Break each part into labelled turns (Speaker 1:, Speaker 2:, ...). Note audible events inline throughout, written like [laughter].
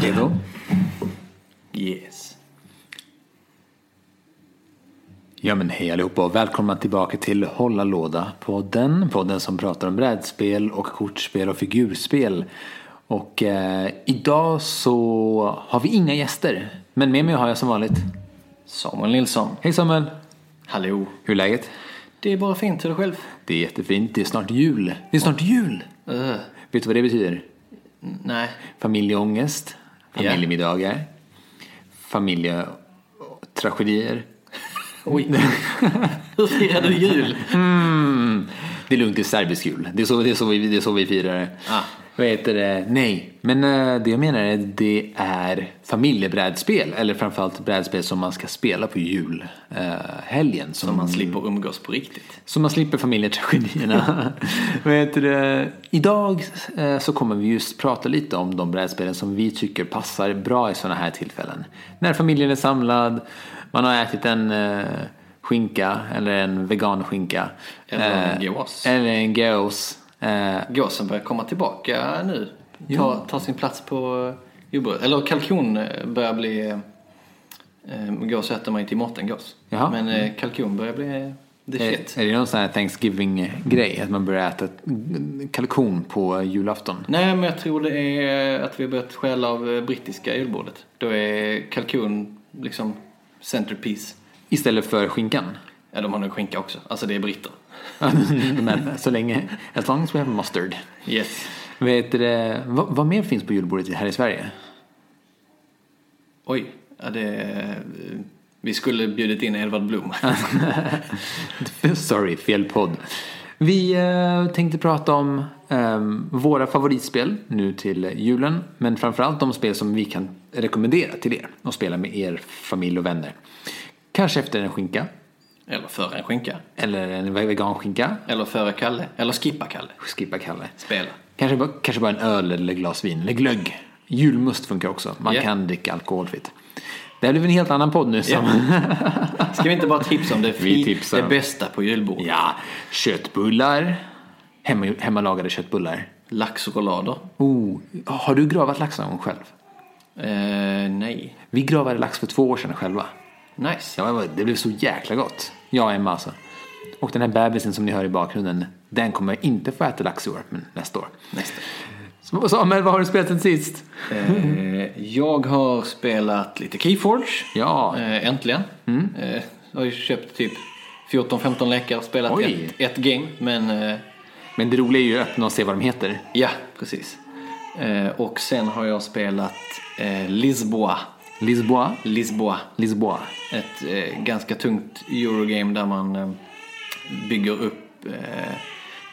Speaker 1: Redo? Yes. Ja men hej allihopa och välkomna tillbaka till Hålla låda podden. Podden som pratar om brädspel och kortspel och figurspel. Och eh, idag så har vi inga gäster. Men med mig har jag som vanligt.
Speaker 2: Samuel Nilsson.
Speaker 1: Hej Samuel!
Speaker 2: Hallå.
Speaker 1: Hur är läget?
Speaker 2: Det är bara fint, hur är det själv?
Speaker 1: Det är jättefint. Det är snart jul. Det är snart jul!
Speaker 2: Öh,
Speaker 1: Vet du vad det betyder?
Speaker 2: n- nej.
Speaker 1: Familjeångest,
Speaker 2: Ja.
Speaker 1: familjemiddagar, familjetragedier.
Speaker 2: Oj. [laughs] hur firar du jul?
Speaker 1: Mm. Det är lugnt, det är serbisk jul. Det är så, det är så, vi, det är så vi firar det.
Speaker 2: Ah.
Speaker 1: Vad heter det? Nej, men eh, det jag menar är det är familjebrädspel. Eller framförallt brädspel som man ska spela på julhelgen.
Speaker 2: Som man slipper umgås på riktigt.
Speaker 1: Så man slipper
Speaker 2: [laughs]
Speaker 1: familjetragedierna. Vet du, idag eh, så kommer vi just prata lite om de brädspelen som vi tycker passar bra i sådana här tillfällen. När familjen är samlad, man har ätit en eh, skinka eller en veganskinka.
Speaker 2: Eller en
Speaker 1: eh,
Speaker 2: gås.
Speaker 1: Eller en gås. Eh,
Speaker 2: Gåsen börjar komma tillbaka nu. Ta, ta sin plats på jordbrödet. Eller kalkon eh, börjar bli... Eh, gås äter man ju till måttengås.
Speaker 1: Jaha.
Speaker 2: Men eh, kalkon börjar bli the
Speaker 1: är,
Speaker 2: shit.
Speaker 1: eh, är det någon sån här Thanksgiving-grej? Att man börjar äta kalkon på julafton?
Speaker 2: Nej, men jag tror det är att vi har börjat stjäla av eh, brittiska julbordet. Då är kalkon liksom centerpiece.
Speaker 1: Istället för skinkan? [laughs]
Speaker 2: Ja, de har nog skinka också. Alltså det är britter.
Speaker 1: Men så länge, as long as we have mustard.
Speaker 2: Yes.
Speaker 1: Vet du, det, vad, vad mer finns på julbordet här i Sverige? [laughs]
Speaker 2: Oj, ja, det, vi skulle bjudit in Edvard
Speaker 1: [laughs]
Speaker 2: Blom.
Speaker 1: Sorry, fel podd. Vi eh, tänkte prata om eh, våra favoritspel nu till julen. Men framförallt de spel som vi kan rekommendera till er och spela med er familj och vänner. Kanske efter en skinka,
Speaker 2: Eller föra en skinka.
Speaker 1: eller en veganskinka.
Speaker 2: Eller föra Kalle. Eller skippa Kalle.
Speaker 1: Skippa Kalle.
Speaker 2: Spela.
Speaker 1: Kanske, bara- kanske bara en öl eller ett glas vin eller glögg. Julmust funkar också. Man
Speaker 2: Ja.
Speaker 1: kan dricka alkoholfritt. Det här blev en helt annan podd nu. Sam.
Speaker 2: Ska vi inte bara tipsa om det,
Speaker 1: [laughs] Vi
Speaker 2: fi-
Speaker 1: tipsar.
Speaker 2: det bästa på julbordet?
Speaker 1: Ja, köttbullar. Hemma, hemmalagade köttbullar.
Speaker 2: Laxrollader?
Speaker 1: Oh, har du gravat lax någon gång själv?
Speaker 2: Eh, nej.
Speaker 1: Vi gravade lax för två år sedan själva. [laughs]
Speaker 2: Nice.
Speaker 1: Ja, men det blev så jäkla gott. Jag och Emma alltså. Och den här bebisen som ni hör i bakgrunden, den kommer jag inte få äta lax i år, men nästa år.
Speaker 2: Nästa.
Speaker 1: Så, Samuel, vad har du spelat sen sist?
Speaker 2: Eh, jag har spelat lite Keyforge.
Speaker 1: Ja, Mm.
Speaker 2: Eh, äntligen. Eh, jag har ju köpt typ 14-15 läkare och spelat
Speaker 1: Oj.
Speaker 2: ett, ett game. Men eh,
Speaker 1: men det roliga är ju att öppna och se vad de heter.
Speaker 2: ja, precis. Eh, och sen har jag spelat eh, Lisboa.
Speaker 1: Lisboa.
Speaker 2: Lisboa.
Speaker 1: Lisboa.
Speaker 2: Ett eh, ganska tungt Eurogame där man eh, bygger upp eh,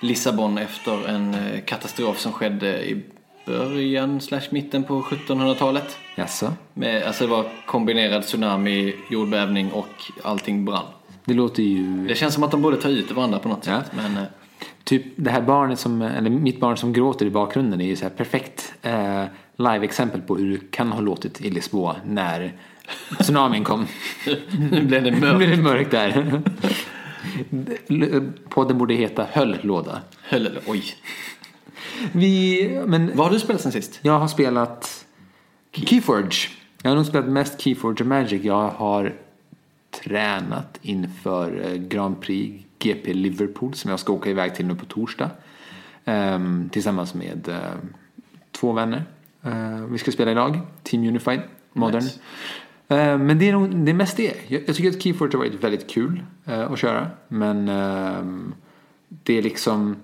Speaker 2: Lissabon efter en eh, katastrof som skedde i början slash mitten på 1700-talet.
Speaker 1: Jaså?
Speaker 2: Med, alltså det var kombinerad tsunami, jordbävning och allting brann.
Speaker 1: Det låter ju...
Speaker 2: Det känns som att de borde ta ut varandra på något
Speaker 1: Ja.
Speaker 2: sätt. Men, eh, [laughs]
Speaker 1: Typ det här barnet som, eller mitt barn som gråter i bakgrunden är ju så här perfekt eh, live-exempel på hur det kan ha låtit i Lisboa när tsunamin [laughs] kom.
Speaker 2: nu blev det
Speaker 1: Nu
Speaker 2: mörkt.
Speaker 1: blir det mörkt [laughs] där. Podden borde heta Höll låda.
Speaker 2: Höll- Oj.
Speaker 1: Vi, men
Speaker 2: Vad har du spelat sen sist?
Speaker 1: jag har spelat Keyforge. Jag har nog spelat mest Keyforge och Magic. Jag har tränat inför eh, Grand Prix GP Liverpool som jag ska åka iväg till nu på torsdag. Ehm, tillsammans med eh, två vänner. Eh, vi ska spela idag, Team Unified Modern.
Speaker 2: Nice.
Speaker 1: Eh, Men det är, nog, det är mest det. Jag, jag tycker att Keyforge har varit väldigt kul eh, att köra. Men ehm, det är liksom...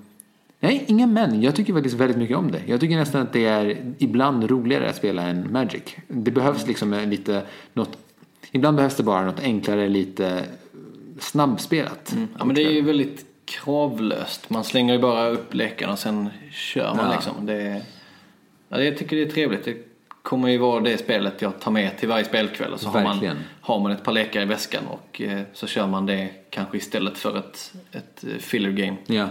Speaker 1: Nej, inga men. Jag tycker faktiskt väldigt mycket om det. Jag tycker nästan att det är ibland roligare att spela än Magic. Det behövs liksom eh, lite något... Ibland behövs det bara något enklare, lite snabbspelat.
Speaker 2: Mm. Ja, men det är ju väldigt kravlöst. Man slänger ju bara upp läckan och sen kör man
Speaker 1: Ja.
Speaker 2: liksom. Det är, ja, det- jag tycker det är trevligt. Det kommer ju vara det spelet jag tar med till varje spelkväll. Och så har man,
Speaker 1: Verkligen.
Speaker 2: har man ett par lekar i väskan och eh, så kör man det kanske istället för ett, ett eh, filler game.
Speaker 1: Ja.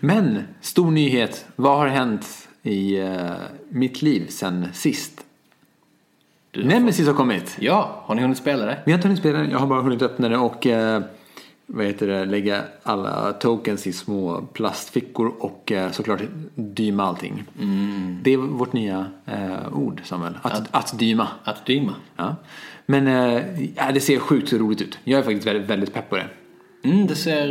Speaker 1: Men, stor nyhet. Vad har hänt i eh, mitt liv sen sist?
Speaker 2: Du-
Speaker 1: Nemesis har kommit.
Speaker 2: Ja, har ni hunnit spela det?
Speaker 1: Vi har inte hunnit spela den. Jag har bara hunnit öppna den och eh, vad heter det, lägga alla tokens i små plastfickor och eh, såklart dyma allting.
Speaker 2: Mm.
Speaker 1: Det är vårt nya eh, ord, Samuel. Att, att dyma.
Speaker 2: Att dyma?
Speaker 1: Ja. Men eh, ja, det ser sjukt roligt ut. Jag är faktiskt väldigt, väldigt pepp på det.
Speaker 2: Mm, det ser,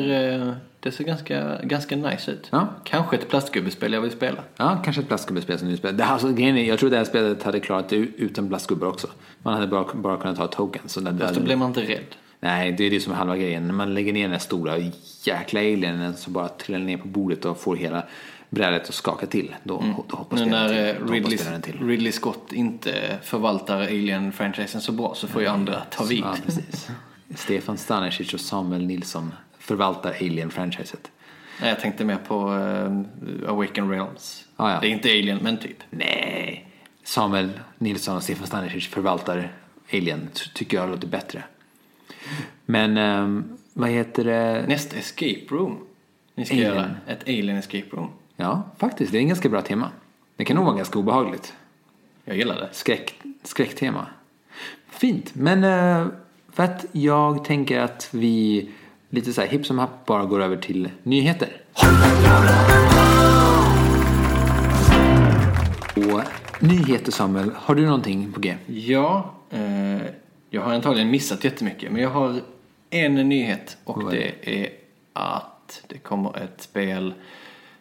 Speaker 2: eh, det ser ganska, ganska nice ut.
Speaker 1: Ja.
Speaker 2: Kanske ett plastgubbespel jag vill spela.
Speaker 1: Ja, kanske ett plastgubbespel som nyspel. Det här, alltså, grejen är, jag tror det här spelet hade klarat det utan plastgubbar också. Man hade bara, bara kunnat ta tokens. Så den,
Speaker 2: Fast då blir man inte rädd.
Speaker 1: Nej, det är det som är halva grejen. När man lägger ner den här stora jäkla alienen som bara trillar ner på bordet och får hela brädet att skaka till. Då, då hoppas
Speaker 2: Mm. Nu
Speaker 1: spelaren
Speaker 2: när
Speaker 1: till. Då
Speaker 2: eh,
Speaker 1: hoppas
Speaker 2: Ridley,
Speaker 1: spelaren till.
Speaker 2: Ridley Scott inte förvaltar Alien-franchisen så bra så får ju andra ta vid.
Speaker 1: Ja,
Speaker 2: [laughs]
Speaker 1: precis. Stefan Stanisic och Samuel Nilsson förvaltar Alien-franchiset.
Speaker 2: Nej, jag tänkte mer på eh, Awaken Realms.
Speaker 1: Ah, ja.
Speaker 2: Det är inte Alien, men typ.
Speaker 1: Nej, Samuel Nilsson och Stefan Stanisic förvaltar Alien. ty- Tycker jag låter bättre. Men ehm, vad heter det?
Speaker 2: Nästa Escape Room. Ni ska
Speaker 1: Alien.
Speaker 2: göra ett Alien Escape Room.
Speaker 1: Ja, faktiskt. Det är en ganska bra tema. Det kan nog vara ganska obehagligt.
Speaker 2: Jag gillar det.
Speaker 1: skräck, skräcktema. Fint, men eh, för att jag tänker att vi lite så här hipp som happ bara går över till nyheter. Och nyheter Samuel, har du någonting på G?
Speaker 2: Ja, eh, jag har antagligen missat jättemycket. Men jag har en nyhet och det är att det kommer ett spel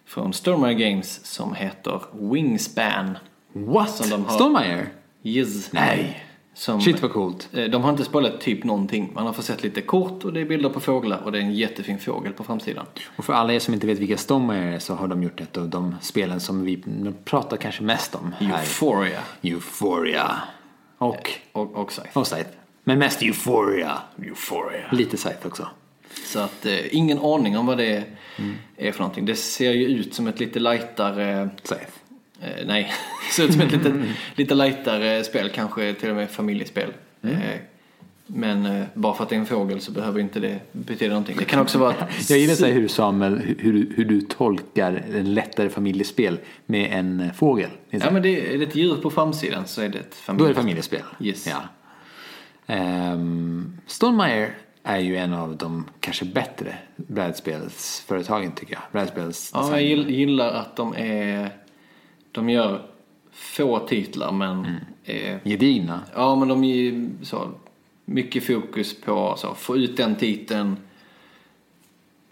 Speaker 2: från Stormare Games som heter Wingspan.
Speaker 1: What?
Speaker 2: Som de har-
Speaker 1: Stormire?
Speaker 2: Yes.
Speaker 1: Nej.
Speaker 2: Som,
Speaker 1: Shit vad coolt.
Speaker 2: Eh, De har inte spoilat typ någonting. Man har fått sett lite kort och det är bilder på fåglar och det är en jättefin fågel på framsidan.
Speaker 1: Och för alla er som inte vet vilka Stormire är så har de gjort ett av de spelen som vi pratar kanske mest om här.
Speaker 2: Euphoria.
Speaker 1: Euphoria. Och,
Speaker 2: Och, och Scythe.
Speaker 1: och Scythe. Men mest Euphoria.
Speaker 2: Euphoria.
Speaker 1: Lite Scythe också.
Speaker 2: Så att eh, ingen aning om vad det är,
Speaker 1: Mm.
Speaker 2: är för någonting. Det ser ju ut som ett lite lightare...
Speaker 1: Scythe.
Speaker 2: Eh, nej, [laughs] ser ut som
Speaker 1: [laughs]
Speaker 2: ett lite, lite lightare spel. Kanske till och med familjespel.
Speaker 1: Mm.
Speaker 2: Eh, men eh, bara för att det är en fågel så behöver inte det betyda någonting. Det kan också vara
Speaker 1: [laughs]
Speaker 2: ett
Speaker 1: Jag gillar så här hur Samuel, hur, du- hur du tolkar ett lättare familjespel med en eh, fågel. Det är så
Speaker 2: Ja
Speaker 1: här,
Speaker 2: men det är ett djur på framsidan så är det ett
Speaker 1: Då är det
Speaker 2: familjespel.
Speaker 1: familjespel.
Speaker 2: Yes.
Speaker 1: Ja. Um, Stonemaier är ju en av de kanske bättre brädspelsföretagen tycker jag.
Speaker 2: Ja, jag
Speaker 1: Brädspelsdesign.
Speaker 2: gill- gillar att de är... De gör få titlar men...
Speaker 1: Mm.
Speaker 2: Eh,
Speaker 1: Gedigna.
Speaker 2: ja, men de är ju så mycket fokus på så få ut den titeln,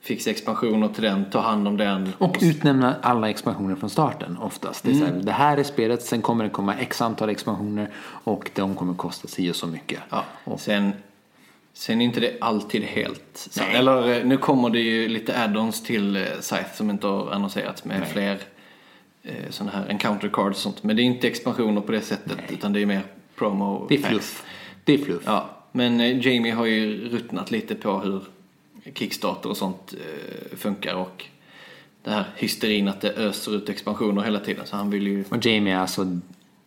Speaker 2: fixa expansioner till den, ta hand om den.
Speaker 1: Och utnämna alla expansioner från starten oftast. Det, är
Speaker 2: Mm.
Speaker 1: så här, det här är spelet, sen kommer det komma x antal expansioner och de kommer kosta si och så mycket.
Speaker 2: Ja, sen, sen är inte det alltid helt sant.
Speaker 1: Nej.
Speaker 2: Eller eh, nu kommer det ju lite add-ons till eh, Scythe som inte har annonserats med fler eh, sådana här encounter cards och sånt. Men det är inte expansioner på det sättet utan det är mer promo
Speaker 1: Det är
Speaker 2: packs.
Speaker 1: fluff. Det är fluff.
Speaker 2: Ja, men eh, Jamie har ju ruttnat lite på hur Kickstarter och sånt eh, funkar och det här hysterin att det öser ut expansioner hela tiden. Så han vill ju...
Speaker 1: Och Jamie är alltså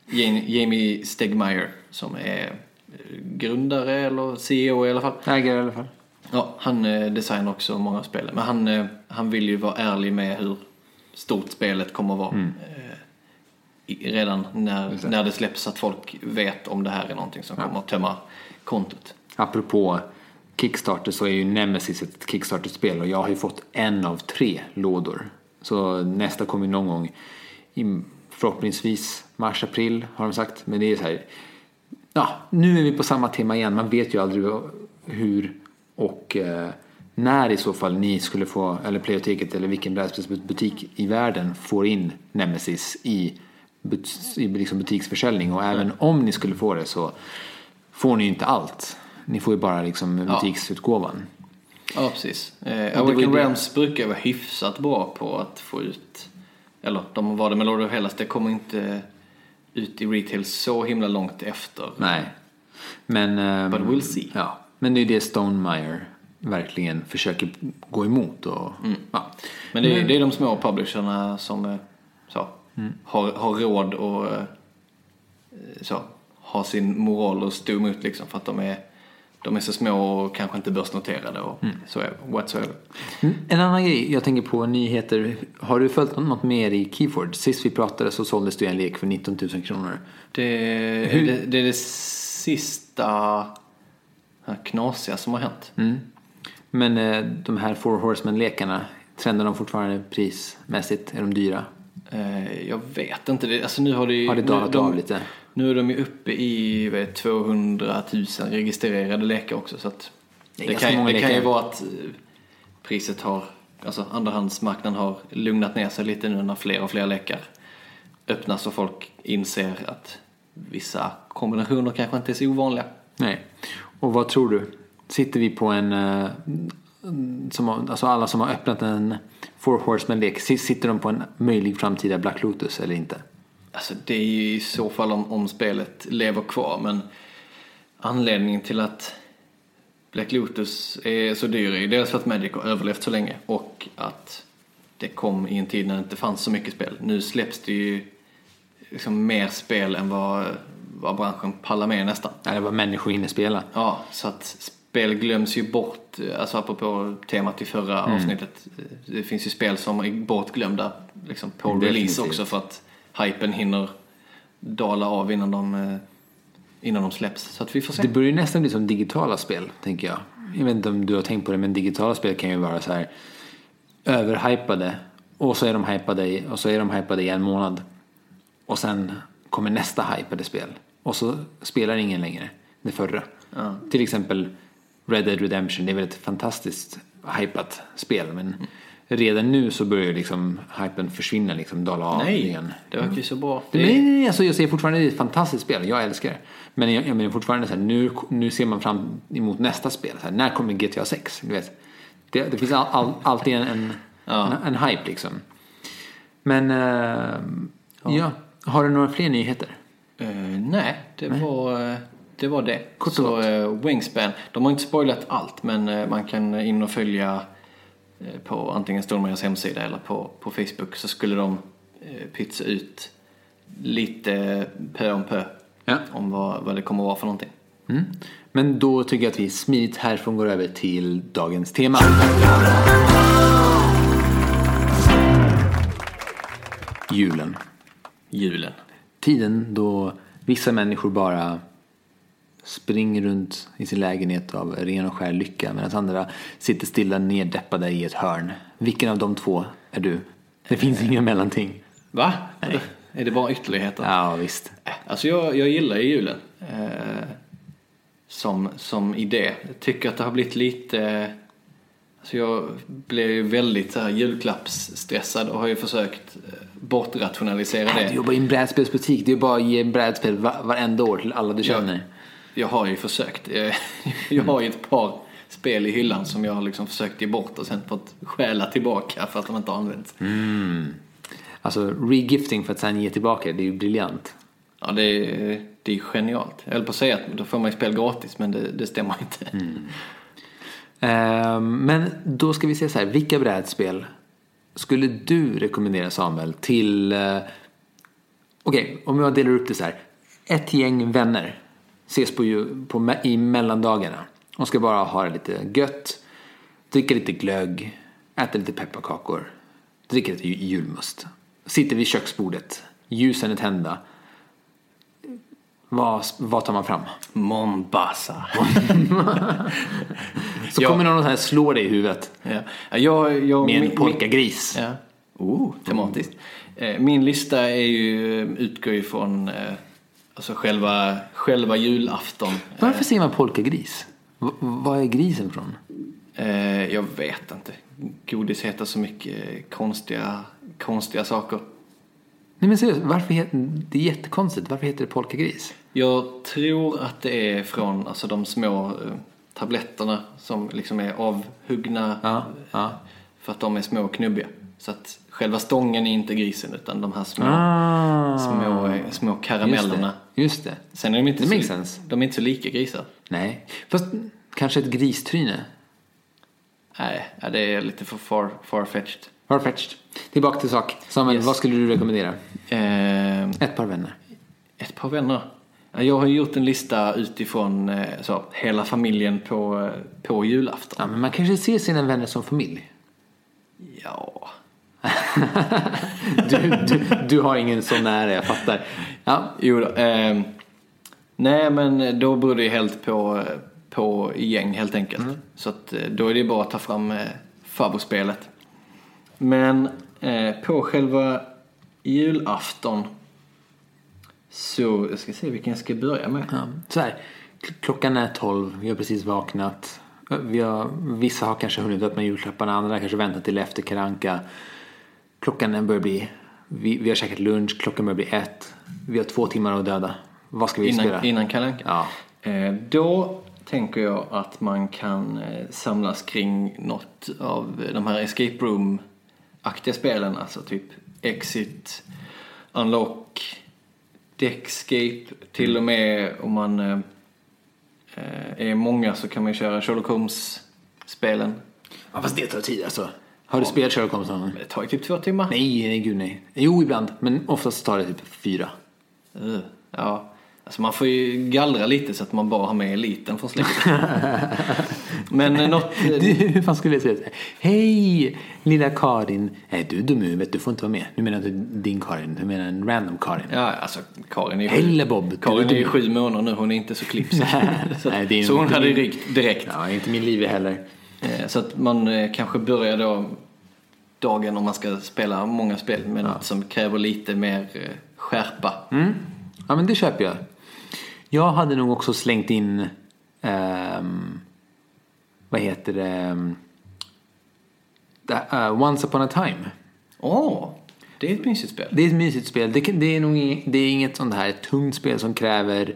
Speaker 2: Jane- Jamie Stegmaier som är eh, grundare eller CEO i alla fall.
Speaker 1: ägare i alla fall.
Speaker 2: Ja, han eh, designar också många av spelen. Men han, eh, han vill ju vara ärlig med hur stort spelet kommer att vara. Eh, i- Redan när, när det släpps så att folk vet om det här är någonting som kommer att tömma kontot.
Speaker 1: Apropå Kickstarter så är ju Nemesis ett Kickstarter-spel och jag har ju fått en av tre lådor. Så nästa kommer ju någon gång i förhoppningsvis mars-april har de sagt. Men det är så här, ja, nu är vi på samma tema igen. Man vet ju aldrig hur och eh, när i så fall ni skulle få, eller Playoteket eller vilken brädspelsbutik i världen får in Nemesis i, but- i liksom butiksförsäljning. Och även om ni skulle få det så får ni ju inte allt. Ni får ju bara liksom butiksutgåvan.
Speaker 2: Ja, precis.
Speaker 1: det
Speaker 2: Eh,
Speaker 1: var ju
Speaker 2: Awaken
Speaker 1: det.
Speaker 2: Realms brukar vara hyfsat bra på att få ut... Eller de var det med Lord of Hellas. Det kommer inte ut i retail så himla långt efter.
Speaker 1: Nej. Men... ehm,
Speaker 2: But we'll see.
Speaker 1: Ja. Men det är ju det Stonemire verkligen försöker gå emot. Och,
Speaker 2: Mm.
Speaker 1: ja.
Speaker 2: Men det är, det är de små publisherna som eh, så,
Speaker 1: Mm.
Speaker 2: har, har råd och eh, så, har sin moral och stå emot liksom för att de är, de är så små och kanske inte börsnoterade och så är whatsoever.
Speaker 1: Mm, En annan grej jag tänker på nyheter. Har du följt något mer i Keyford? Sist vi pratade så såldes det ju en lek för 19 000 kronor.
Speaker 2: Det, är det, det är det sista här knasiga som har hänt.
Speaker 1: Mm. Men eh, de här Four Horsemen-lekarna, trendar de fortfarande prismässigt? Är de dyra?
Speaker 2: Eh, jag vet inte. Det, alltså nu har det, ju-
Speaker 1: Har det
Speaker 2: nu-
Speaker 1: dalat
Speaker 2: de-
Speaker 1: av lite?
Speaker 2: Nu är de ju uppe i vad är det, 200 000 registrerade läkare också. Så att
Speaker 1: Det
Speaker 2: det,
Speaker 1: är ganska
Speaker 2: kan,
Speaker 1: många
Speaker 2: det kan ju
Speaker 1: läkare.
Speaker 2: vara att eh, priset har, alltså andrahandsmarknaden har lugnat ner sig lite nu när fler och fler läkare öppnas och folk inser att vissa kombinationer kanske inte är så ovanliga.
Speaker 1: Nej. Och vad tror du? Sitter vi på en... eh, Som, har- alltså alla som har öppnat en Four Horsemen-lek, si- sitter de på en möjlig framtida Black Lotus eller inte?
Speaker 2: Alltså det är ju i så fall om, om spelet lever kvar men anledningen till att Black Lotus är så dyr är ju dels för att Magic har överlevt så länge och att det kom i en tid när det inte fanns så mycket spel. Nu släpps det ju liksom mer spel än vad, vad branschen pallar med nästan.
Speaker 1: Eller vad människor hinner spela?
Speaker 2: Ja, så att spel glöms ju bort, alltså apropå temat i förra
Speaker 1: Mm.
Speaker 2: avsnittet. Det finns ju spel som är bortglömda liksom på
Speaker 1: Definitivt.
Speaker 2: release också för att hypen hinner dala av innan de, eh, innan de släpps. Så att vi får se.
Speaker 1: Det börjar ju nästan bli som digitala spel, tänker jag. Jag vet inte om du har tänkt på det, men digitala spel kan ju vara så här överhypade. Och så är de hypade, i- och så är de hypade i en månad. Och sen kommer nästa hypade spel. Och så spelar ingen längre det förra. Till exempel Red Dead Redemption, det är väl ett fantastiskt hypat spel. Men
Speaker 2: Mm.
Speaker 1: redan nu så börjar ju liksom hypen försvinna, liksom dala av
Speaker 2: Nej,
Speaker 1: igen.
Speaker 2: det verkar ju så bra.
Speaker 1: Det...
Speaker 2: Det,
Speaker 1: Nej, nej, nej, alltså jag ser fortfarande det är ett fantastiskt spel. Jag älskar det. Men jag, jag menar fortfarande så här, nu, nu ser man fram emot nästa spel. Så här, när kommer GTA 6? Du vet, det, det finns all, all, alltid en, en, en, en hype liksom. Men, eh, ja. Har du några fler nyheter?
Speaker 2: Eh, nej, det, Var, eh, det var det.
Speaker 1: Kort och
Speaker 2: så eh, Wingspan, de har inte spoilat allt men eh, man kan in och följa eh, på antingen Stormarias hemsida eller på, på Facebook så skulle de eh, pytsa ut lite pö om pö
Speaker 1: Ja.
Speaker 2: om vad, vad det kommer vara för någonting.
Speaker 1: Mm. Men då tycker jag att vi smidigt härifrån går över till dagens tema. Julen.
Speaker 2: Julen.
Speaker 1: tiden då vissa människor bara springer runt i sin lägenhet av ren och skär lycka medan andra sitter stilla neddeppade i ett hörn. Vilken av de två är du? Det finns inga mellanting.
Speaker 2: Va? Är det bara ytterligheter?
Speaker 1: Ja, visst.
Speaker 2: Alltså jag, jag gillar ju julen. Eh, som, som idé. Jag tycker att det har blivit lite... eh, Alltså jag blev ju väldigt så här julklappsstressad och har ju försökt eh, bortrationalisera
Speaker 1: Du
Speaker 2: det.
Speaker 1: jobbar i en brädspelsbutik. Det är bara att ge brädspel va- varenda år till alla du känner.
Speaker 2: Jag har ju försökt. [laughs] Eh, Jag har ju ett par spel i hyllan som jag har liksom försökt ge bort och sen fått stjäla tillbaka för att de inte har använts.
Speaker 1: Alltså, regifting för att sen ge tillbaka, det är ju briljant.
Speaker 2: Ja, det är, det är genialt. Jag höll på att säga att då får man ju spel gratis men det, det stämmer inte.
Speaker 1: Ehm, Men då ska vi se så här, vilka brädspel skulle du rekommendera Samuel till... eh, Okej, om jag delar upp det så här. Ett gäng vänner ses på, ju- på, me- i mellandagarna. De ska bara ha det lite gött, dricka lite glögg, äta lite pepparkakor, dricka lite ju- julmust. Sitter vid köksbordet, ljusen är tända. Vad, vad tar man fram?
Speaker 2: Mombasa.
Speaker 1: Så
Speaker 2: Ja.
Speaker 1: kommer någon här slå dig i huvudet
Speaker 2: Ja. Ja, Jag, jag,
Speaker 1: med en
Speaker 2: min-
Speaker 1: polkagris.
Speaker 2: Ja. Oh, tematiskt. Eh, Min lista är ju, eh, utgår ju från eh, alltså själva, själva julafton.
Speaker 1: Varför säger man polkagris? V- vad är grisen från?
Speaker 2: Eh, Jag vet inte. Godis heter så mycket eh, konstiga, konstiga saker.
Speaker 1: Nej men seriöst, varför heter, det är jättekonstigt. Varför heter det polkagris?
Speaker 2: Jag tror att det är från alltså, de små eh, tabletterna som liksom är avhuggna eh,
Speaker 1: Ja, ja.
Speaker 2: för att de är små och knubbiga. Så att själva stången är inte grisen utan de här små,
Speaker 1: Ah,
Speaker 2: små, eh, små
Speaker 1: just
Speaker 2: karamellerna.
Speaker 1: det. Just det.
Speaker 2: Sen är de inte,
Speaker 1: Det makes
Speaker 2: så,
Speaker 1: sense.
Speaker 2: de är inte så lika grisar.
Speaker 1: Nej, fast kanske ett gristryne.
Speaker 2: Nej, ja, det är lite för far, farfetched.
Speaker 1: Farfetched. Tillbaka till sak. Samuel,
Speaker 2: Yes.
Speaker 1: vad skulle du rekommendera?
Speaker 2: Ehm,
Speaker 1: Ett par vänner.
Speaker 2: Ett par vänner. Ja, Jag har ju gjort en lista utifrån eh, så, hela familjen på, eh, på julafton.
Speaker 1: Ja, men man kanske ser sina vänner som familj. [laughs]
Speaker 2: Ja.
Speaker 1: Du, du, du har ingen sån nära, jag fattar. Ja,
Speaker 2: Jo då, eh, Nej men då beror det ju helt på, eh, på gäng helt enkelt.
Speaker 1: Mm.
Speaker 2: Så att, eh, då är det bara att ta fram eh, favospelet. Men eh, på själva julafton så jag ska se vilken jag ska börja med.
Speaker 1: Ja, Ehm, så här, k- klockan är tolv, vi har precis vaknat. Vi har, vissa har kanske hunnit öppna julklapparna, andra har kanske väntat till efter karanka. Klockan den börjar bli... Vi, vi har käkat lunch, klockan börjar bli ett. Vi har två timmar att döda. Vad ska vi spela?
Speaker 2: Innan, innan Kalle Anka.
Speaker 1: Ja.
Speaker 2: Eh, Då tänker jag att man kan eh, samlas kring något av de här escape room-aktiga spelen. Alltså typ Exit, Unlock, Deckscape. Till och med om man eh, eh, är många så kan man ju köra Sherlock Holmes-spelen.
Speaker 1: ja, fast det tar tid alltså. Har du spelat Sherlock Holmes någon gång?
Speaker 2: Men Det tar ju typ två timmar.
Speaker 1: Nej, nej, gud nej. Jo, ibland. Men oftast tar det typ fyra.
Speaker 2: Eh, Ja. Alltså man får ju gallra lite så att man bara har med eliten från släkten. Men eh, något...
Speaker 1: [laughs] Du, hur fan skulle jag säga så här? Hej, lilla Karin. Nej, du är dum i huvudet. Du får inte vara med. Nu menar jag inte din Karin. Du menar en random Karin.
Speaker 2: Ja, alltså Karin är ju
Speaker 1: Helle Bob.
Speaker 2: Karin är ju
Speaker 1: Du-
Speaker 2: sju månader nu, hon är inte så klipsk.
Speaker 1: [laughs]
Speaker 2: så,
Speaker 1: Nej, det är
Speaker 2: så hon
Speaker 1: inte
Speaker 2: hade ju
Speaker 1: min-
Speaker 2: ryckt direkt.
Speaker 1: Ja, inte min liv heller.
Speaker 2: Eh, Så att man eh, kanske börjar då dagen om man ska spela många spel med något som kräver lite mer eh, skärpa.
Speaker 1: Mm. Ja, men det köper jag. Jag hade nog också slängt in, ehm, vad heter det, ehm, det- eh, Once upon a time.
Speaker 2: Åh, det är ett mysigt spel.
Speaker 1: Det är ett mysigt spel. Det, kan- det, är, nog, ing- det är inget sånt här tungt spel som kräver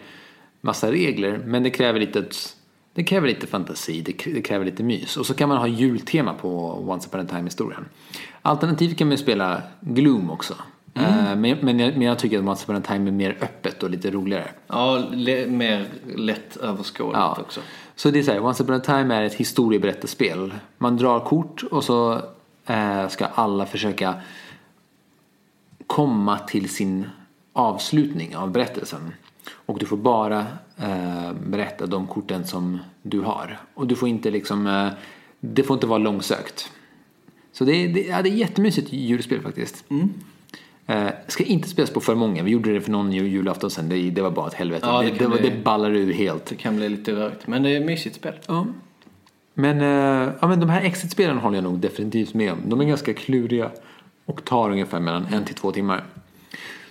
Speaker 1: massa regler, men det kräver lite, ett- det kräver lite fantasi, det, k- det kräver lite mys. Och så kan man ha jultema på Once upon a time-historien. Alternativt kan man ju spela Gloom också. Eh, Men, men, jag, men jag tycker att Once upon a time är mer öppet och lite roligare.
Speaker 2: Ja, le- mer lätt överskådligt också.
Speaker 1: Så det är så här, Once upon a time är ett historieberättarspel. Man drar kort och så eh, ska alla försöka komma till sin avslutning av berättelsen. Och du får bara eh, berätta de korten som du har. Och du får inte liksom, eh, det får inte vara långsökt. Så det är, det, ja, det är jättemysigt julspel faktiskt.
Speaker 2: Mm.
Speaker 1: Eh, ska inte spelas på för många. Vi gjorde det för någon ju- julafton sen. Det, det var bara ett helvete.
Speaker 2: Ja, det
Speaker 1: det, det,
Speaker 2: kan
Speaker 1: var-
Speaker 2: bli-
Speaker 1: det ballar ur helt.
Speaker 2: Det kan bli lite rörigt, men det är ett mysigt spel.
Speaker 1: Ja. Men, eh, ja, men de här exit-spelen håller jag nog definitivt med om. De är ganska kluriga och tar ungefär mellan en till två timmar.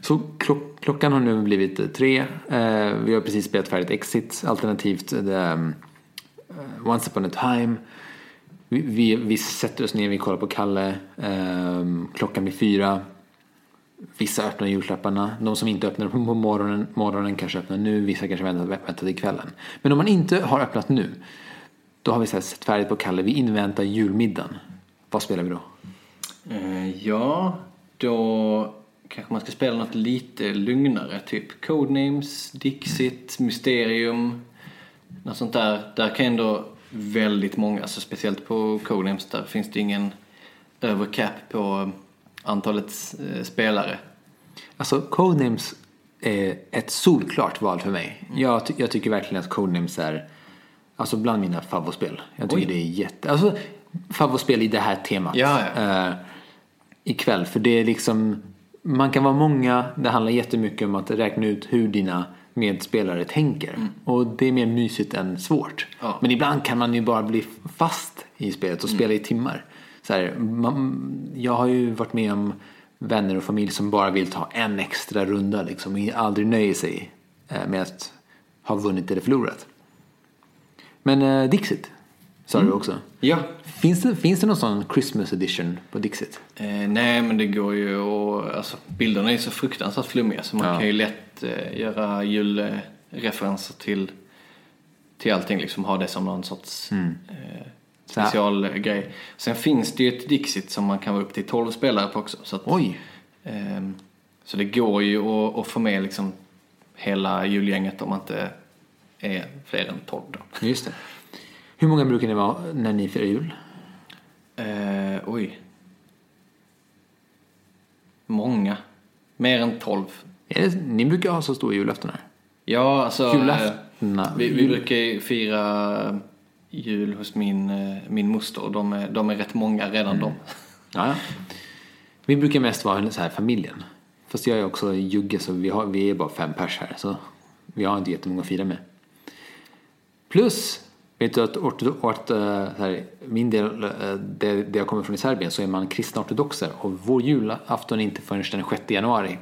Speaker 1: Så klock, klockan har nu blivit eh, tre. Eh, vi har precis spelat färdigt Exit alternativt eh, det, eh, Once upon a time. Vi, vi, vi sätter oss ner, vi kollar på Kalle. Eh, klockan blir fyra. Vissa öppnar julklapparna. De som inte öppnar på morgonen, morgonen kanske öppnar nu. Vissa kanske väntar, väntar till kvällen. Men om man inte har öppnat nu, då har vi så här sett färdigt på Kalle. Vi inväntar julmiddagen. Vad spelar vi då?
Speaker 2: Eh, Ja, då kanske man ska spela något lite lugnare. Typ Codenames, Dixit, Mysterium. Något sånt där. Där kan ändå väldigt många, alltså speciellt på Codenames, där finns det ingen övercap på antalet eh, spelare.
Speaker 1: Alltså, Codenames är ett solklart val för mig. Jag, ty- jag tycker verkligen att Codenames är alltså bland mina favvospel. Jag tycker det är jätte... Alltså, favvospel i det här temat.
Speaker 2: Ja,
Speaker 1: Eh, ikväll. För det är liksom... Man kan vara många. Det handlar jättemycket om att räkna ut hur dina medspelare tänker. Och det är mer mysigt än svårt.
Speaker 2: Ja.
Speaker 1: Men ibland kan man ju bara bli fast i spelet och spela i timmar. Så här, man, jag har ju varit med om vänner och familj som bara vill ta en extra runda liksom, och aldrig nöjer sig eh, med att ha vunnit eller förlorat. Men eh, Dixit sa du också.
Speaker 2: Ja.
Speaker 1: Finns det, finns det någon sån Christmas edition på Dixit?
Speaker 2: Eh, nej, men det går ju att... Alltså, bilderna är så fruktansvärt flummiga så man
Speaker 1: Ja.
Speaker 2: kan ju lätt eh, göra julreferenser till, till allting. Liksom ha det som någon sorts... Eh,
Speaker 1: Mm. Så här-
Speaker 2: specialgrej. Sen finns det ju ett Dixit som man kan vara upp till 12 spelare på också. Så, att,
Speaker 1: Oj!
Speaker 2: ehm, så det går ju att, att få med liksom hela julgänget om man inte är fler än 12 då.
Speaker 1: Just det. Hur många brukar ni vara när ni firar jul?
Speaker 2: Eh, oj. Många. Mer än 12.
Speaker 1: Är det, ni brukar ha så stora julafton här.
Speaker 2: Ja, alltså...
Speaker 1: Julafton.
Speaker 2: eh, Vi, vi brukar ju fira jul hos min, eh, min moster och de är, de är rätt många redan
Speaker 1: Mm.
Speaker 2: de.
Speaker 1: Ja, ja. Vi brukar mest vara så här familjen. Fast jag är också jugge så vi, har, vi är bara fem pers här. Så vi har inte jättemånga att fira med. Plus, vet du att orto- ort, eh, här, min del, eh, det, det jag kommer från i Serbien så är man kristna ortodoxer. Och vår julafton är inte förrän den 6 januari.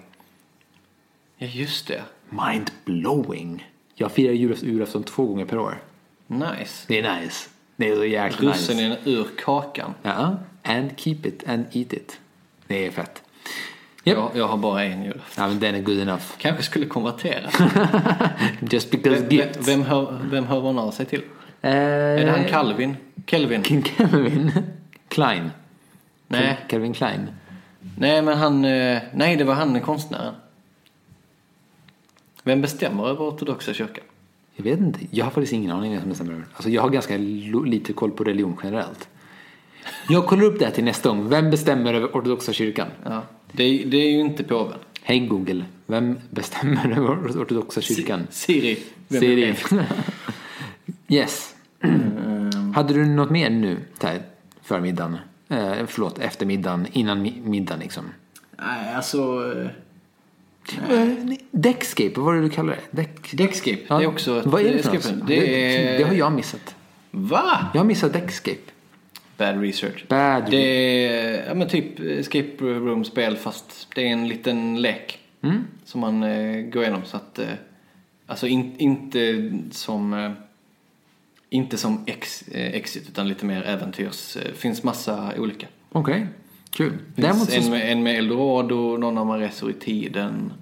Speaker 2: Ja, just det.
Speaker 1: Mind blowing! Jag firar julaf- julafton två gånger per år.
Speaker 2: Nice.
Speaker 1: Det är nice. Det är så jäkla nice.
Speaker 2: Russinen ur kakan.
Speaker 1: Ja, and keep it and eat it. Det är fett. Japp.
Speaker 2: Jag, jag har bara en jul.
Speaker 1: Ja, men den är good [laughs] enough.
Speaker 2: Kanske
Speaker 1: [laughs]
Speaker 2: skulle konvertera.
Speaker 1: Just because
Speaker 2: Vem,
Speaker 1: gifts.
Speaker 2: vem, hör, vem hör man av sig till?
Speaker 1: Eh,
Speaker 2: Är det han Calvin? Kelvin?
Speaker 1: King Calvin? [laughs] Klein?
Speaker 2: Nej.
Speaker 1: Calvin Klein?
Speaker 2: Nej, men han... eh, Nej, det var han konstnären. Vem bestämmer över ortodoxa kyrkan?
Speaker 1: Jag vet inte. Jag har faktiskt ingen aning om vem som bestämmer. Alltså, jag har ganska lo- lite koll på religion generellt. Jag kollar upp det här till nästa gång. Vem bestämmer över ortodoxa kyrkan?
Speaker 2: Ja. Det, är- det är ju inte påven.
Speaker 1: Hej Google. Vem bestämmer över ortodoxa kyrkan?
Speaker 2: Siri. Vem är
Speaker 1: Siri. [laughs]
Speaker 2: det?
Speaker 1: yes.
Speaker 2: Ehm.
Speaker 1: Hade du något mer nu? Så här, förmiddagen? Eh, förlåt, eftermiddagen. Innan mi- middagen liksom.
Speaker 2: Nej, alltså... eh,
Speaker 1: Eh, Deckscape, vad var det du kallade det? Deck...
Speaker 2: Deckscape.
Speaker 1: Ja.
Speaker 2: Det är också... ett-
Speaker 1: Vad är det för
Speaker 2: escape
Speaker 1: något?
Speaker 2: room.
Speaker 1: Det,
Speaker 2: Det är...
Speaker 1: det har jag missat.
Speaker 2: Va?
Speaker 1: Jag har missat Deckscape.
Speaker 2: Bad research.
Speaker 1: Bad
Speaker 2: det är ja, men typ escape room-spel fast det är en liten lek
Speaker 1: Mm.
Speaker 2: som man eh, går igenom. Så att, eh, alltså in, inte som, eh, inte som ex, eh, exit utan lite mer äventyrs. Eh, finns massa olika.
Speaker 1: Okej, kul. Däremot
Speaker 2: Finns
Speaker 1: så...
Speaker 2: en, med, en med Eldorado, någon om man reser i tiden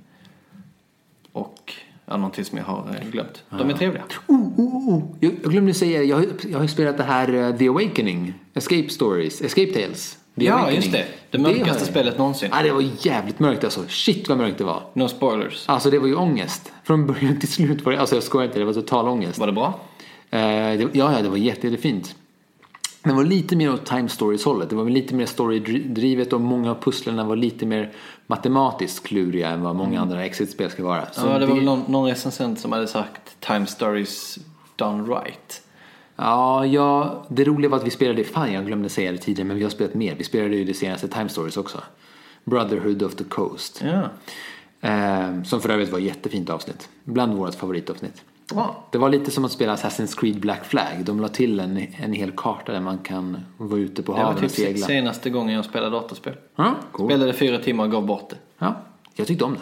Speaker 2: och ja, någonting som jag har eh, glömt. De är trevliga.
Speaker 1: Oh, oh, oh. Jag, jag glömde säga det. Jag, har- jag har ju spelat det här eh, The Awakening. Escape Stories. Escape Tales. The
Speaker 2: Ja,
Speaker 1: Awakening.
Speaker 2: just det. Det mörkaste
Speaker 1: har jag.
Speaker 2: spelet någonsin.
Speaker 1: Ja, det var jävligt mörkt alltså. Shit vad mörkt det var.
Speaker 2: No spoilers.
Speaker 1: Alltså det var ju ångest. Från början till slut var det... Alltså jag skojar inte, det var total ångest.
Speaker 2: Var det bra?
Speaker 1: Eh, det, ja, ja, det var jätte, jättefint. Det var lite mer åt time stories-hållet. Det var lite mer storydrivet och många av pusslerna var lite mer matematiskt kluriga än vad många andra exit-spel ska vara. Så
Speaker 2: Mm. ja, det var väl någon, någon recensent som hade sagt Time Stories Done Right.
Speaker 1: ja, ja, det roliga var att vi spelade, fan jag glömde säga det tidigare, men vi har spelat mer. Vi spelade ju det senaste time stories också. Brotherhood of the Coast.
Speaker 2: Ja.
Speaker 1: Eh, som för övrigt var ett jättefint avsnitt. Bland vårt favoritavsnitt.
Speaker 2: Bra.
Speaker 1: Det var lite som att spela Assassin's Creed Black Flag. De la till en, en hel karta där man kan vara ute på
Speaker 2: Det var
Speaker 1: havet och
Speaker 2: typ
Speaker 1: segla.
Speaker 2: senaste gången jag spelade datorspel.
Speaker 1: Ja, cool.
Speaker 2: Spelade fyra timmar och gav bort det.
Speaker 1: Ja, jag tyckte om det.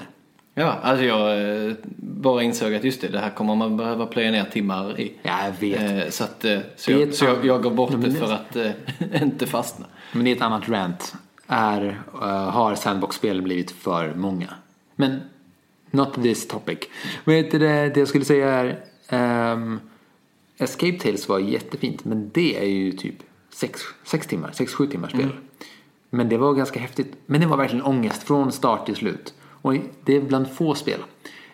Speaker 2: Ja, alltså jag eh, bara insåg att just det, det här kommer man behöva plöja ner timmar i.
Speaker 1: Ja, jag vet.
Speaker 2: Eh, Så, att, eh, så,
Speaker 1: Det är
Speaker 2: jag,
Speaker 1: ett-
Speaker 2: så jag, jag gav
Speaker 1: Ja,
Speaker 2: bort
Speaker 1: men
Speaker 2: det
Speaker 1: det-
Speaker 2: för att eh, [laughs] inte fastna.
Speaker 1: Men det är ett annat rant. Är, eh, har sandbox-spelen blivit för många? Men, not this topic. Men det, det jag skulle säga är... ehm, Escape Tales var jättefint, men det är ju typ sex, sex timmar, sex, sju timmars
Speaker 2: Mm.
Speaker 1: spel. Men det var ganska häftigt. Men det var verkligen ångest från start till slut. Och det är bland få spel.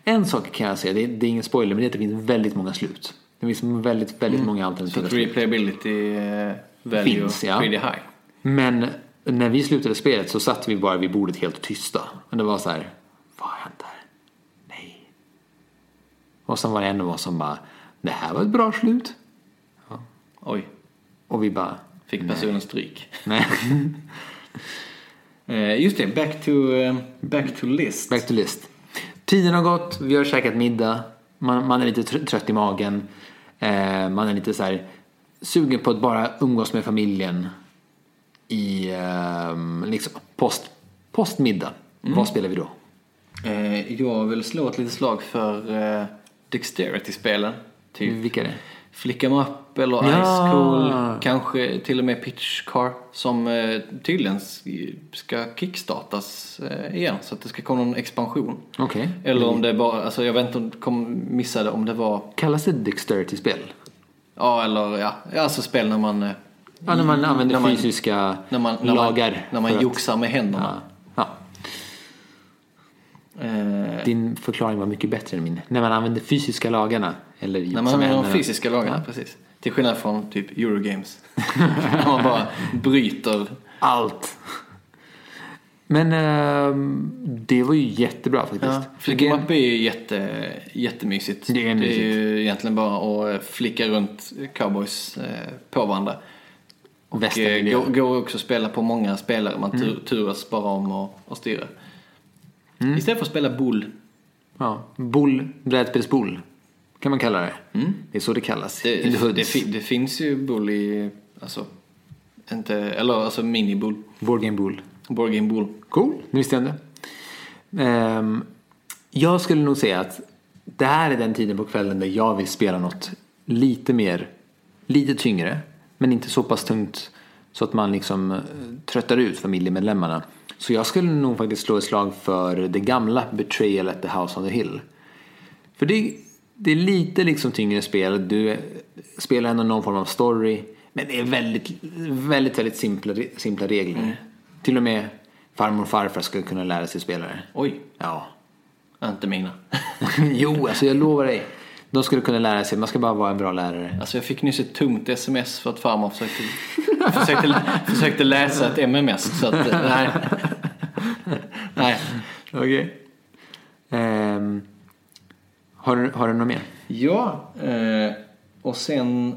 Speaker 1: En sak kan jag säga, det är, det är ingen spoiler, men det är att det finns väldigt många slut. Det finns väldigt, väldigt många
Speaker 2: Mm. Så
Speaker 1: alternativa
Speaker 2: att
Speaker 1: slut.
Speaker 2: replayability eh, value
Speaker 1: Finns, ja.
Speaker 2: pretty high.
Speaker 1: Men när vi slutade spelet så satt vi bara vid bordet helt tysta. Och det var så här, vad har hänt här? Nej. Och sen var det en av oss som bara, det här var ett bra slut.
Speaker 2: Oj,
Speaker 1: Och vi bara,
Speaker 2: fick personen stryk.
Speaker 1: nej. [laughs]
Speaker 2: Eh, Just det, back to, eh, back to list.
Speaker 1: Back to list. Tiden har gått, vi har käkat middag. Man, man är lite tr- trött i magen. Eh, man är lite så här sugen på att bara umgås med familjen. I ehm, liksom post, postmiddag. Vad spelar vi då?
Speaker 2: Eh, jag vill slå ett litet slag för eh, Dexterity-spelen. Typ
Speaker 1: Vilka är det?
Speaker 2: Flick'em Up eller
Speaker 1: Mm. Ja.
Speaker 2: Ice Cool. Kanske till och med Pitch Car. Som eh, tydligen s- ska kickstartas eh, igen. Så att det ska komma någon expansion.
Speaker 1: Okej.
Speaker 2: Eller om det bara, alltså jag vet inte om kom, missade om det var,
Speaker 1: Kallas det dexterity-spel?
Speaker 2: ja eller ja, Ja, alltså spel när man, eh,
Speaker 1: Ja, när man använder
Speaker 2: När man-
Speaker 1: fysiska
Speaker 2: när man, när
Speaker 1: lagar.
Speaker 2: man, när man
Speaker 1: för att-
Speaker 2: joxar med händerna.
Speaker 1: Ja.
Speaker 2: Eh,
Speaker 1: Din förklaring var mycket bättre än min. När man använder fysiska lagarna. Eller
Speaker 2: När man
Speaker 1: som
Speaker 2: använder de
Speaker 1: händerna.
Speaker 2: fysiska lagarna, precis. Till skillnad från typ
Speaker 1: [laughs]
Speaker 2: Eurogames. När man bara bryter.
Speaker 1: Allt. Men ehm, det var ju jättebra faktiskt.
Speaker 2: Ja,
Speaker 1: Vilken-
Speaker 2: Flickmapp är ju jätte, jättemysigt.
Speaker 1: Det är mysigt.
Speaker 2: ju egentligen bara att eh, flicka runt cowboys eh, på varandra.
Speaker 1: och
Speaker 2: Och, eh,
Speaker 1: västermiljö.
Speaker 2: Går, går också att spela på många spelare. Man
Speaker 1: Mm.
Speaker 2: tur, turas bara om och, och styra. Istället för att spela boule.
Speaker 1: Ja, bull, brädspelsbull kan man kalla det. Det är så det kallas.
Speaker 2: Mm. Det,
Speaker 1: In the
Speaker 2: det,
Speaker 1: hoods.
Speaker 2: det, fi- det finns ju boule i... Alltså, inte, eller alltså mini-boule.
Speaker 1: Board game bull.
Speaker 2: Board game boule.
Speaker 1: Cool, nu visste jag inte. Ehm, jag skulle nog säga att det här är den tiden på kvällen där jag vill spela något lite mer, lite tyngre, men inte så pass tungt så att man liksom eh, tröttar ut familjemedlemmarna. Så jag skulle nog faktiskt slå ett slag för det gamla Betrayal at the House on the Hill. För det, det är lite liksom tyngre spel. Du eh, spelar ändå någon form av story. Men det är väldigt, väldigt, väldigt simpla, simpla regler. Till och med farmor och farfar skulle kunna lära sig spela det.
Speaker 2: Oj,
Speaker 1: Ja. [laughs]
Speaker 2: inte mina. [laughs]
Speaker 1: jo, alltså jag lovar dig. De skulle kunna lära sig. Man ska bara vara en bra lärare.
Speaker 2: Alltså jag fick nyss ett tungt sms för att
Speaker 1: [laughs]
Speaker 2: farmor försökte, försökte, försökte läsa ett MMS. Så att, eh,
Speaker 1: [laughs]
Speaker 2: nej. nej.
Speaker 1: Okej. Ehm, har, du- har du något mer?
Speaker 2: Ja, eh, och sen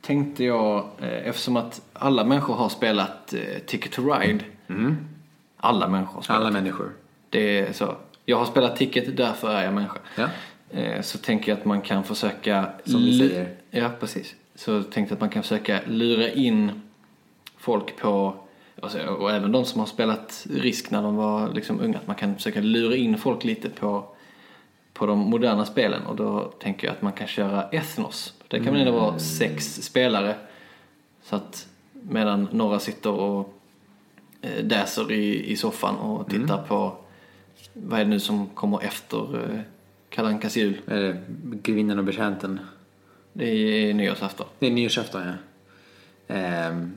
Speaker 2: tänkte jag, eh, eftersom att alla människor har spelat eh, Ticket to Ride.
Speaker 1: Mm.
Speaker 2: Alla människor har spelat.
Speaker 1: människor.
Speaker 2: Det är så. Jag har spelat Ticket, därför är jag människa.
Speaker 1: Ja.
Speaker 2: Eh, Så tänker jag att man kan försöka...
Speaker 1: Som vi
Speaker 2: lu-
Speaker 1: säger.
Speaker 2: Ja, precis. Så tänkte jag att man kan försöka lura in folk på... alltså, Och även de som har spelat Risk när de var liksom unga. Att man kan försöka lura in folk lite på, på de moderna spelen. Och då tänker jag att man kan köra Ethnos. Det kan väl ändå
Speaker 1: Mm.
Speaker 2: vara sex spelare. Så att medan några sitter och eh, däser i, i soffan och
Speaker 1: Mm.
Speaker 2: tittar på vad är det nu som kommer efter eh, Kalle Ankas jul?
Speaker 1: Eh, Grevinnan och betjänten.
Speaker 2: Det är nyårsafton.
Speaker 1: Det är nyårsafton, ja. Ehm,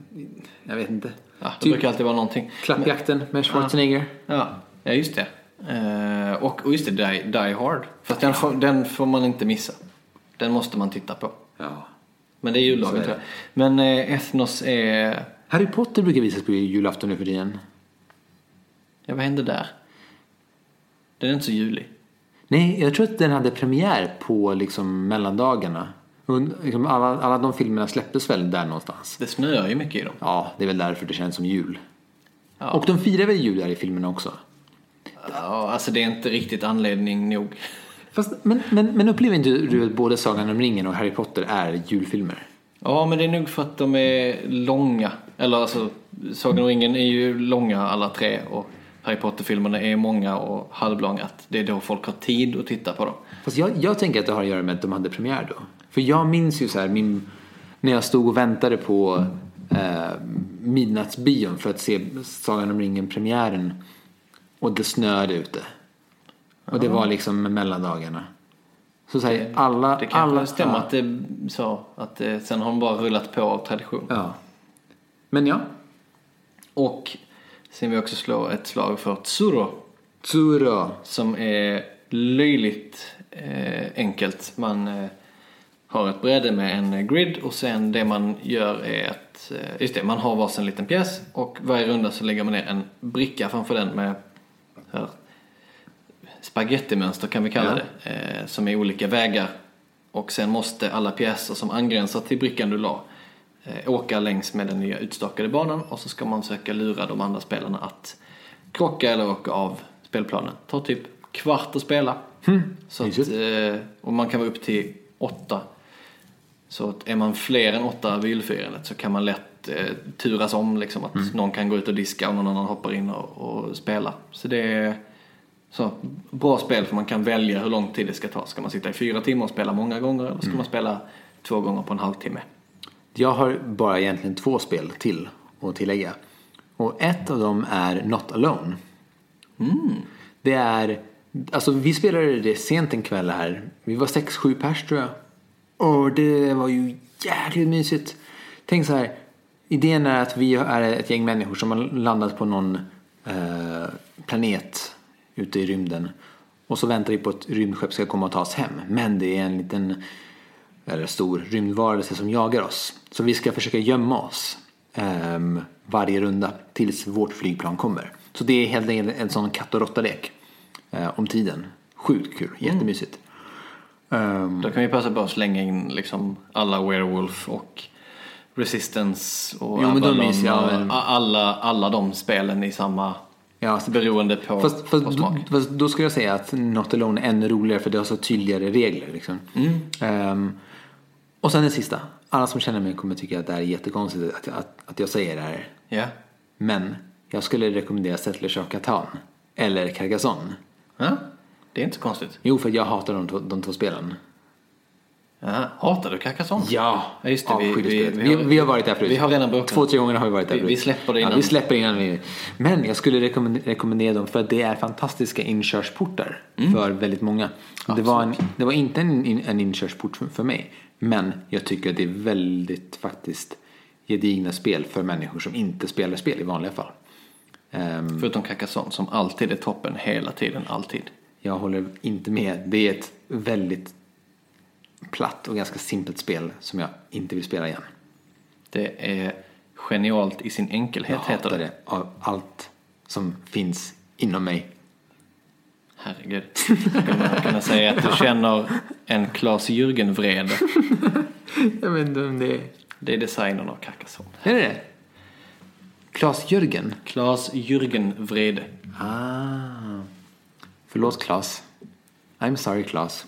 Speaker 1: jag vet inte.
Speaker 2: Ja, det
Speaker 1: Typ-
Speaker 2: brukar alltid vara någonting.
Speaker 1: Klappjakten med Schwarzenegger.
Speaker 2: Ja, ja just det. Eh, och, och just det, Die, die Hard. Fast den får, den får man inte missa. Den måste man titta på.
Speaker 1: Ja.
Speaker 2: Men det är
Speaker 1: Så
Speaker 2: jullagen
Speaker 1: är
Speaker 2: tror jag. Men eh, Ethnos är...
Speaker 1: Harry Potter brukar visas på julafton nu för tiden.
Speaker 2: Ja, vad hände där? Den är inte så julig.
Speaker 1: Nej, jag tror att den hade premiär på liksom mellandagarna. Und- liksom Alla, alla de filmerna släpptes väl där någonstans.
Speaker 2: Det snöar ju mycket i dem.
Speaker 1: Ja, det är väl därför det känns som jul.
Speaker 2: Ja.
Speaker 1: Och de firar väl jul där i filmerna också.
Speaker 2: Ja, alltså det är inte riktigt anledning nog.
Speaker 1: Fast, men, men, men upplever inte du att både Sagan om ringen och Harry Potter är julfilmer?
Speaker 2: Ja, men det är nog för att de är långa. Eller alltså, Sagan om ringen är ju långa alla tre och Harry Potter-filmerna är många och halvlånga. Att det är då folk har tid att titta på dem.
Speaker 1: Fast jag, jag tänker att det har att göra med att de hade premiär då. För jag minns ju så här, min, när jag stod och väntade på eh, midnattsbion för att se Sagan om ringen-premiären. Och det snöade ute. Och det var liksom mellandagarna. Så, så här, alla...
Speaker 2: Det kanske
Speaker 1: alla,
Speaker 2: stämmer
Speaker 1: ja.
Speaker 2: att det så, att eh, sen har de bara rullat på av tradition.
Speaker 1: Ja. Men ja.
Speaker 2: Och sen vill jag också slå ett slag för Tsuro
Speaker 1: Tsuro.
Speaker 2: som är löjligt eh, enkelt. Man eh, har ett bräde med en eh, grid och sen det man gör är att, eh, just det, man har varsin liten pjäs och varje runda så lägger man ner en bricka framför den med så här, spagettimönster kan vi kalla
Speaker 1: Ja.
Speaker 2: det, eh, som är olika vägar. Och sen måste alla pjäser som angränsar till brickan du la eh, åka längs med den nya utstakade banan och så ska man försöka lura de andra spelarna att krocka eller åka av spelplanen. Ta typ kvart att spela. Så att,
Speaker 1: mysigt.
Speaker 2: eh, och man kan vara upp till åtta. Så att är man fler än åtta vid julfirandet så kan man lätt eh, turas om liksom att någon kan gå ut och diska och någon annan hoppar in och, och spela. Så det är så bra spel för man kan välja hur lång tid det ska ta. Ska man sitta i fyra timmar och spela många gånger eller ska man spela två gånger på en halvtimme?
Speaker 1: Jag har bara egentligen två spel till att tillägga. Och ett av dem är Not Alone. Det är, alltså vi spelade det sent en kväll här. Vi var sex, sju pers tror jag. Och det var ju jäkligt mysigt. Tänk så här, idén är att vi är ett gäng människor som har landat på någon eh, planet ute i rymden. Och så väntar vi på att rymdskepp ska komma och ta oss hem. Men det är en liten, eller stor rymdvarelse som jagar oss. Så vi ska försöka gömma oss ehm, varje runda tills vårt flygplan kommer. Så det är helt enkelt en sån katt och råtta-lek eh, om tiden. Sjukt kul, jättemysigt. Ehm,
Speaker 2: Då kan vi passa på att slänga in liksom alla Werewolf och Resistance och
Speaker 1: Jo, men de
Speaker 2: Avalon
Speaker 1: minns jag,
Speaker 2: och
Speaker 1: men-
Speaker 2: a- alla, alla de spelen i samma
Speaker 1: ja, så-
Speaker 2: beroende på,
Speaker 1: Fast,
Speaker 2: på
Speaker 1: fast,
Speaker 2: smak.
Speaker 1: då, fast då skulle jag säga att Not Alone är ännu roligare för det har så tydligare regler. Liksom. Ehm, och sen den sista. Alla som känner mig kommer tycka att det här är jättekonstigt att, att, att jag säger det här.
Speaker 2: Ja.
Speaker 1: Men jag skulle rekommendera Settlers of Catan eller Carcassonne.
Speaker 2: ja, det är inte så konstigt.
Speaker 1: Jo, för jag hatar de, två- de två spelen.
Speaker 2: Ja, hatar du Carcassonne?
Speaker 1: Ja,
Speaker 2: Ja, just det, vi-
Speaker 1: avskyr det
Speaker 2: vi-
Speaker 1: spelet.
Speaker 2: vi
Speaker 1: vi,
Speaker 2: har-
Speaker 1: vi, har varit där förut.
Speaker 2: vi har redan bråkat.
Speaker 1: Två, tre gånger har vi varit där
Speaker 2: Vi-
Speaker 1: förut.
Speaker 2: vi släpper det
Speaker 1: Ja,
Speaker 2: innan.
Speaker 1: vi släpper det innan vi... Men jag skulle rekommendera, rekommendera dem för att det är fantastiska inkörsportar
Speaker 2: Mm.
Speaker 1: för väldigt många. Det var, en, det var inte en, in- en inkörsport för, för mig. Men jag tycker att det är väldigt faktiskt gedigna spel för människor som inte spelar spel i vanliga fall. Ehm,
Speaker 2: Förutom Carcassonne som alltid är toppen hela tiden, alltid.
Speaker 1: jag håller inte med. Det är ett väldigt platt och ganska simpelt spel som jag inte vill spela igen.
Speaker 2: Det är genialt i sin enkelhet
Speaker 1: jag
Speaker 2: heter
Speaker 1: hatar
Speaker 2: det.
Speaker 1: det av allt som finns inom mig.
Speaker 2: Herregud. Skulle man kunna säga att du känner en Klas Jürgen-vrede?
Speaker 1: Jag vet inte om det är...
Speaker 2: Det är designen av Carcassonne.
Speaker 1: Är det det? Klas Jörgen?
Speaker 2: Klas Jürgen-vrede.
Speaker 1: Ah. Förlåt Klas. I'm sorry Klas.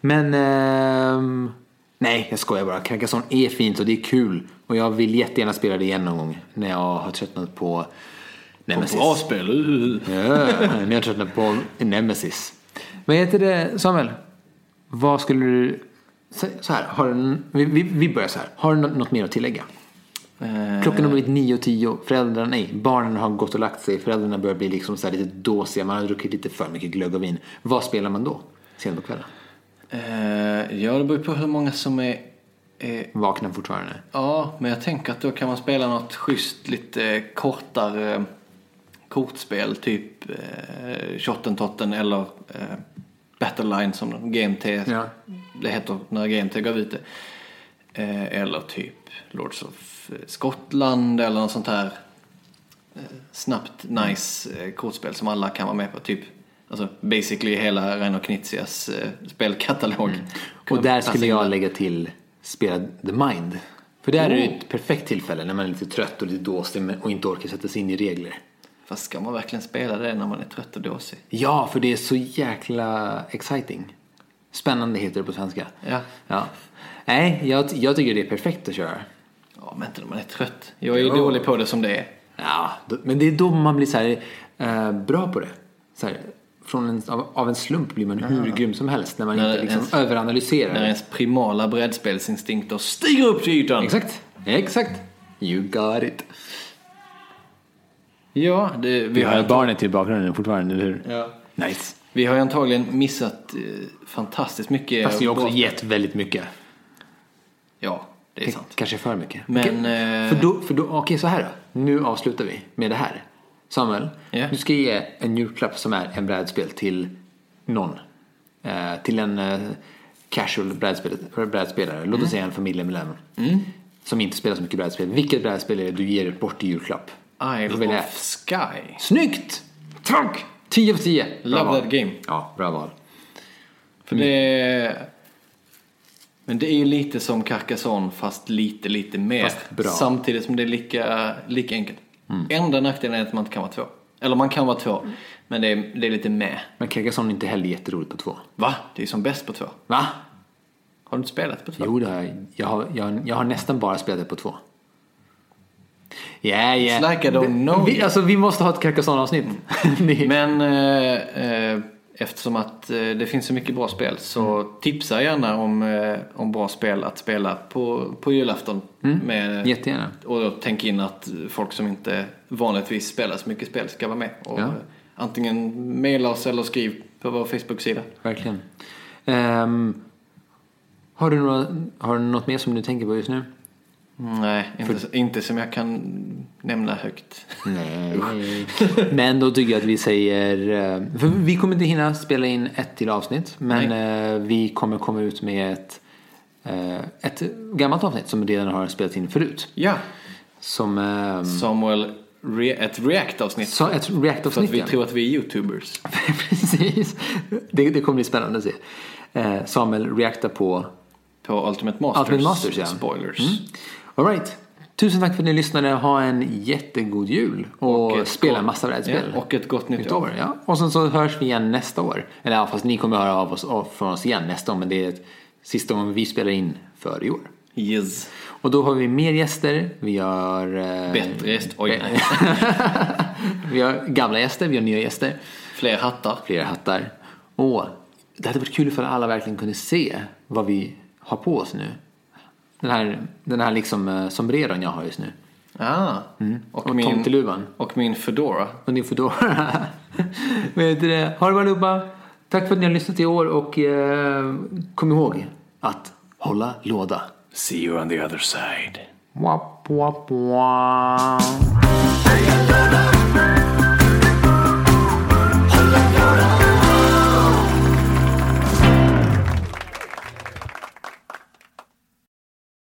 Speaker 1: Men... ehm, nej, jag skojar bara. Carcassonne är fint och det är kul. Och jag vill jättegärna spela det igen någon gång när jag har tröttnat på... Nemesis.
Speaker 2: Bra spel! uh, uh, uh.
Speaker 1: Ja, ni har tröttnat på Nemesis. Vad heter det, Samuel? Vad skulle du... Så så här, har du, vi, vi- vi börjar så här. Har du nå- något mer att tillägga?
Speaker 2: Eh,
Speaker 1: Klockan har blivit nio och tio. Föräldrarna, nej, barnen har gått och lagt sig. Föräldrarna börjar bli liksom så här lite dåsiga. Man har druckit lite för mycket glögg och vin. Vad spelar man då? Sent på kvällen?
Speaker 2: eh, ja, det beror ju på hur många som är, är...
Speaker 1: Vaknar fortfarande?
Speaker 2: Ja, men jag tänker att då kan man spela något schysst, lite kortare eh, kortspel. Typ eh, Shottentotten eller eh, Battleline som GMT
Speaker 1: Ja.
Speaker 2: det heter när GMT gav ut det. Eh, eller typ Lords of Skottland eller något sånt här eh, snabbt nice eh, kortspel som alla kan vara med på. Typ alltså basically hela Reino Knizias eh, spelkatalog.
Speaker 1: Mm. Och där skulle
Speaker 2: Passa in
Speaker 1: jag lägga till spela The Mind. För där är det ju ett perfekt tillfälle när man är lite trött och lite dåsig men- och inte orkar sätta sig in i regler.
Speaker 2: Fast ska man verkligen spela det när man är trött och dåsig?
Speaker 1: Ja, för det är så jäkla exciting. Spännande heter det på svenska.
Speaker 2: Ja.
Speaker 1: ja. Nej, jag, jag tycker det är perfekt att köra.
Speaker 2: Ja, men inte när man är trött. Jag är ju dålig på det som det är.
Speaker 1: Ja, då, men det är då man blir så här, eh, bra på det. Så här, från en, av, av en slump blir man hur grym som helst när man
Speaker 2: När
Speaker 1: inte liksom
Speaker 2: ens-
Speaker 1: överanalyserar.
Speaker 2: När ens primala brädspelsinstinkter stiger upp till ytan.
Speaker 1: Exakt, exakt. You got it.
Speaker 2: Ja, det, vi, har,
Speaker 1: barnet i bakgrunden fortfarande, eller hur?
Speaker 2: ja.
Speaker 1: Nice.
Speaker 2: vi har ju antagligen missat eh, fantastiskt mycket.
Speaker 1: Fast vi har också
Speaker 2: bra-
Speaker 1: gett väldigt mycket.
Speaker 2: Ja, det är sant.
Speaker 1: Kanske för mycket.
Speaker 2: Men,
Speaker 1: Okej,
Speaker 2: eh,
Speaker 1: För då, för då, okej så här då. Nu avslutar vi med det här. Samuel,
Speaker 2: Ja.
Speaker 1: du ska ge en julklapp som är en brädspel till någon. Eh, till en eh, casual brädspel, brädspelare. Låt oss
Speaker 2: Mm.
Speaker 1: säga en familjemedlem. Som inte spelar så mycket brädspel. Vilket brädspel är det du ger bort i julklapp? Du får
Speaker 2: Isle
Speaker 1: välja
Speaker 2: of
Speaker 1: ett.
Speaker 2: Sky.
Speaker 1: Snyggt! Trånk! 10 av 10. Bra
Speaker 2: Love
Speaker 1: val.
Speaker 2: that game.
Speaker 1: Ja, bra val.
Speaker 2: För det... Men det är ju lite som Carcassonne fast lite, lite mer.
Speaker 1: Fast bra. Mm.
Speaker 2: Samtidigt som det är lika, lika enkelt. Enda nackdelen är att man inte kan vara två. Eller man kan vara två, men det är, det är lite med.
Speaker 1: Men Carcassonne är inte heller jätteroligt på två.
Speaker 2: Va? Det är ju som bäst på två.
Speaker 1: Va?
Speaker 2: Har du inte spelat på två?
Speaker 1: Jo, det har jag. Jag har, jag, jag har nästan bara spelat det på två. Yeah, yeah.
Speaker 2: It's like I don't know
Speaker 1: vi,
Speaker 2: you.
Speaker 1: alltså, vi måste ha ett Carcassonne-avsnitt. [laughs] Det-
Speaker 2: Men eh, eh, eftersom att eh, det finns så mycket bra spel så
Speaker 1: Mm.
Speaker 2: tipsa gärna om, eh, om bra spel att spela på, på julafton.
Speaker 1: Mm.
Speaker 2: Med,
Speaker 1: Jättegärna.
Speaker 2: Och då tänk in att folk som inte vanligtvis spelar så mycket spel ska vara med. Och
Speaker 1: Ja.
Speaker 2: eh, Antingen mejla oss eller skriv på vår Facebook-sida.
Speaker 1: Verkligen. Ehm, har, du några, har du något mer som du tänker på just nu?
Speaker 2: Nej, inte, inte som jag kan
Speaker 1: [laughs]
Speaker 2: nämna högt.
Speaker 1: Nej. [laughs] Men då tycker jag att vi säger... eh, För vi kommer inte hinna spela in ett till avsnitt. Men eh, vi kommer komma ut med ett, eh, ett gammalt avsnitt som redan har spelats in förut.
Speaker 2: Ja,
Speaker 1: Som... eh,
Speaker 2: Samuel, re, ett react-avsnitt.
Speaker 1: Så ett
Speaker 2: För att
Speaker 1: React-avsnitt.
Speaker 2: vi
Speaker 1: ja.
Speaker 2: tror att vi är youtubers.
Speaker 1: [laughs] Precis. Det, det kommer bli spännande att se. Eh, Samuel reaktar på...
Speaker 2: På Ultimate Masters.
Speaker 1: Ultimate Masters, ja. Mm.
Speaker 2: Spoilers.
Speaker 1: All right. Tusen tack för att ni lyssnade. Ha en jättegod jul. Och,
Speaker 2: ett
Speaker 1: spela
Speaker 2: gott-
Speaker 1: en massa brädspel.
Speaker 2: Ja, och ett gott nytt år.
Speaker 1: Utöver, ja. Och sen så hörs vi igen nästa år. Eller ja, fast ni kommer höra av oss, av, från oss igen nästa år. Men det är ett, sista gången vi spelar in för i år.
Speaker 2: Yes.
Speaker 1: Och då har vi mer gäster. Vi har... Eh,
Speaker 2: Bättre gäst. Oj,
Speaker 1: be-
Speaker 2: nej.
Speaker 1: vi har gamla gäster, vi har nya gäster.
Speaker 2: Fler hattar.
Speaker 1: Fler hattar. Och det hade varit kul ifall alla verkligen kunde se vad vi har på oss nu. Den här, den här liksom eh, sombreron jag har just nu.
Speaker 2: Ah.
Speaker 1: Mm. Och, tomteluvan.
Speaker 2: Och min Fedora.
Speaker 1: Och ni får då... [laughs] Vet du det? Ha det bra allihopa. Tack för att ni har lyssnat i år och eh, kom ihåg att hålla låda.
Speaker 2: See you on the other side.
Speaker 1: Wap, wap, wap.
Speaker 3: Hey, Lola.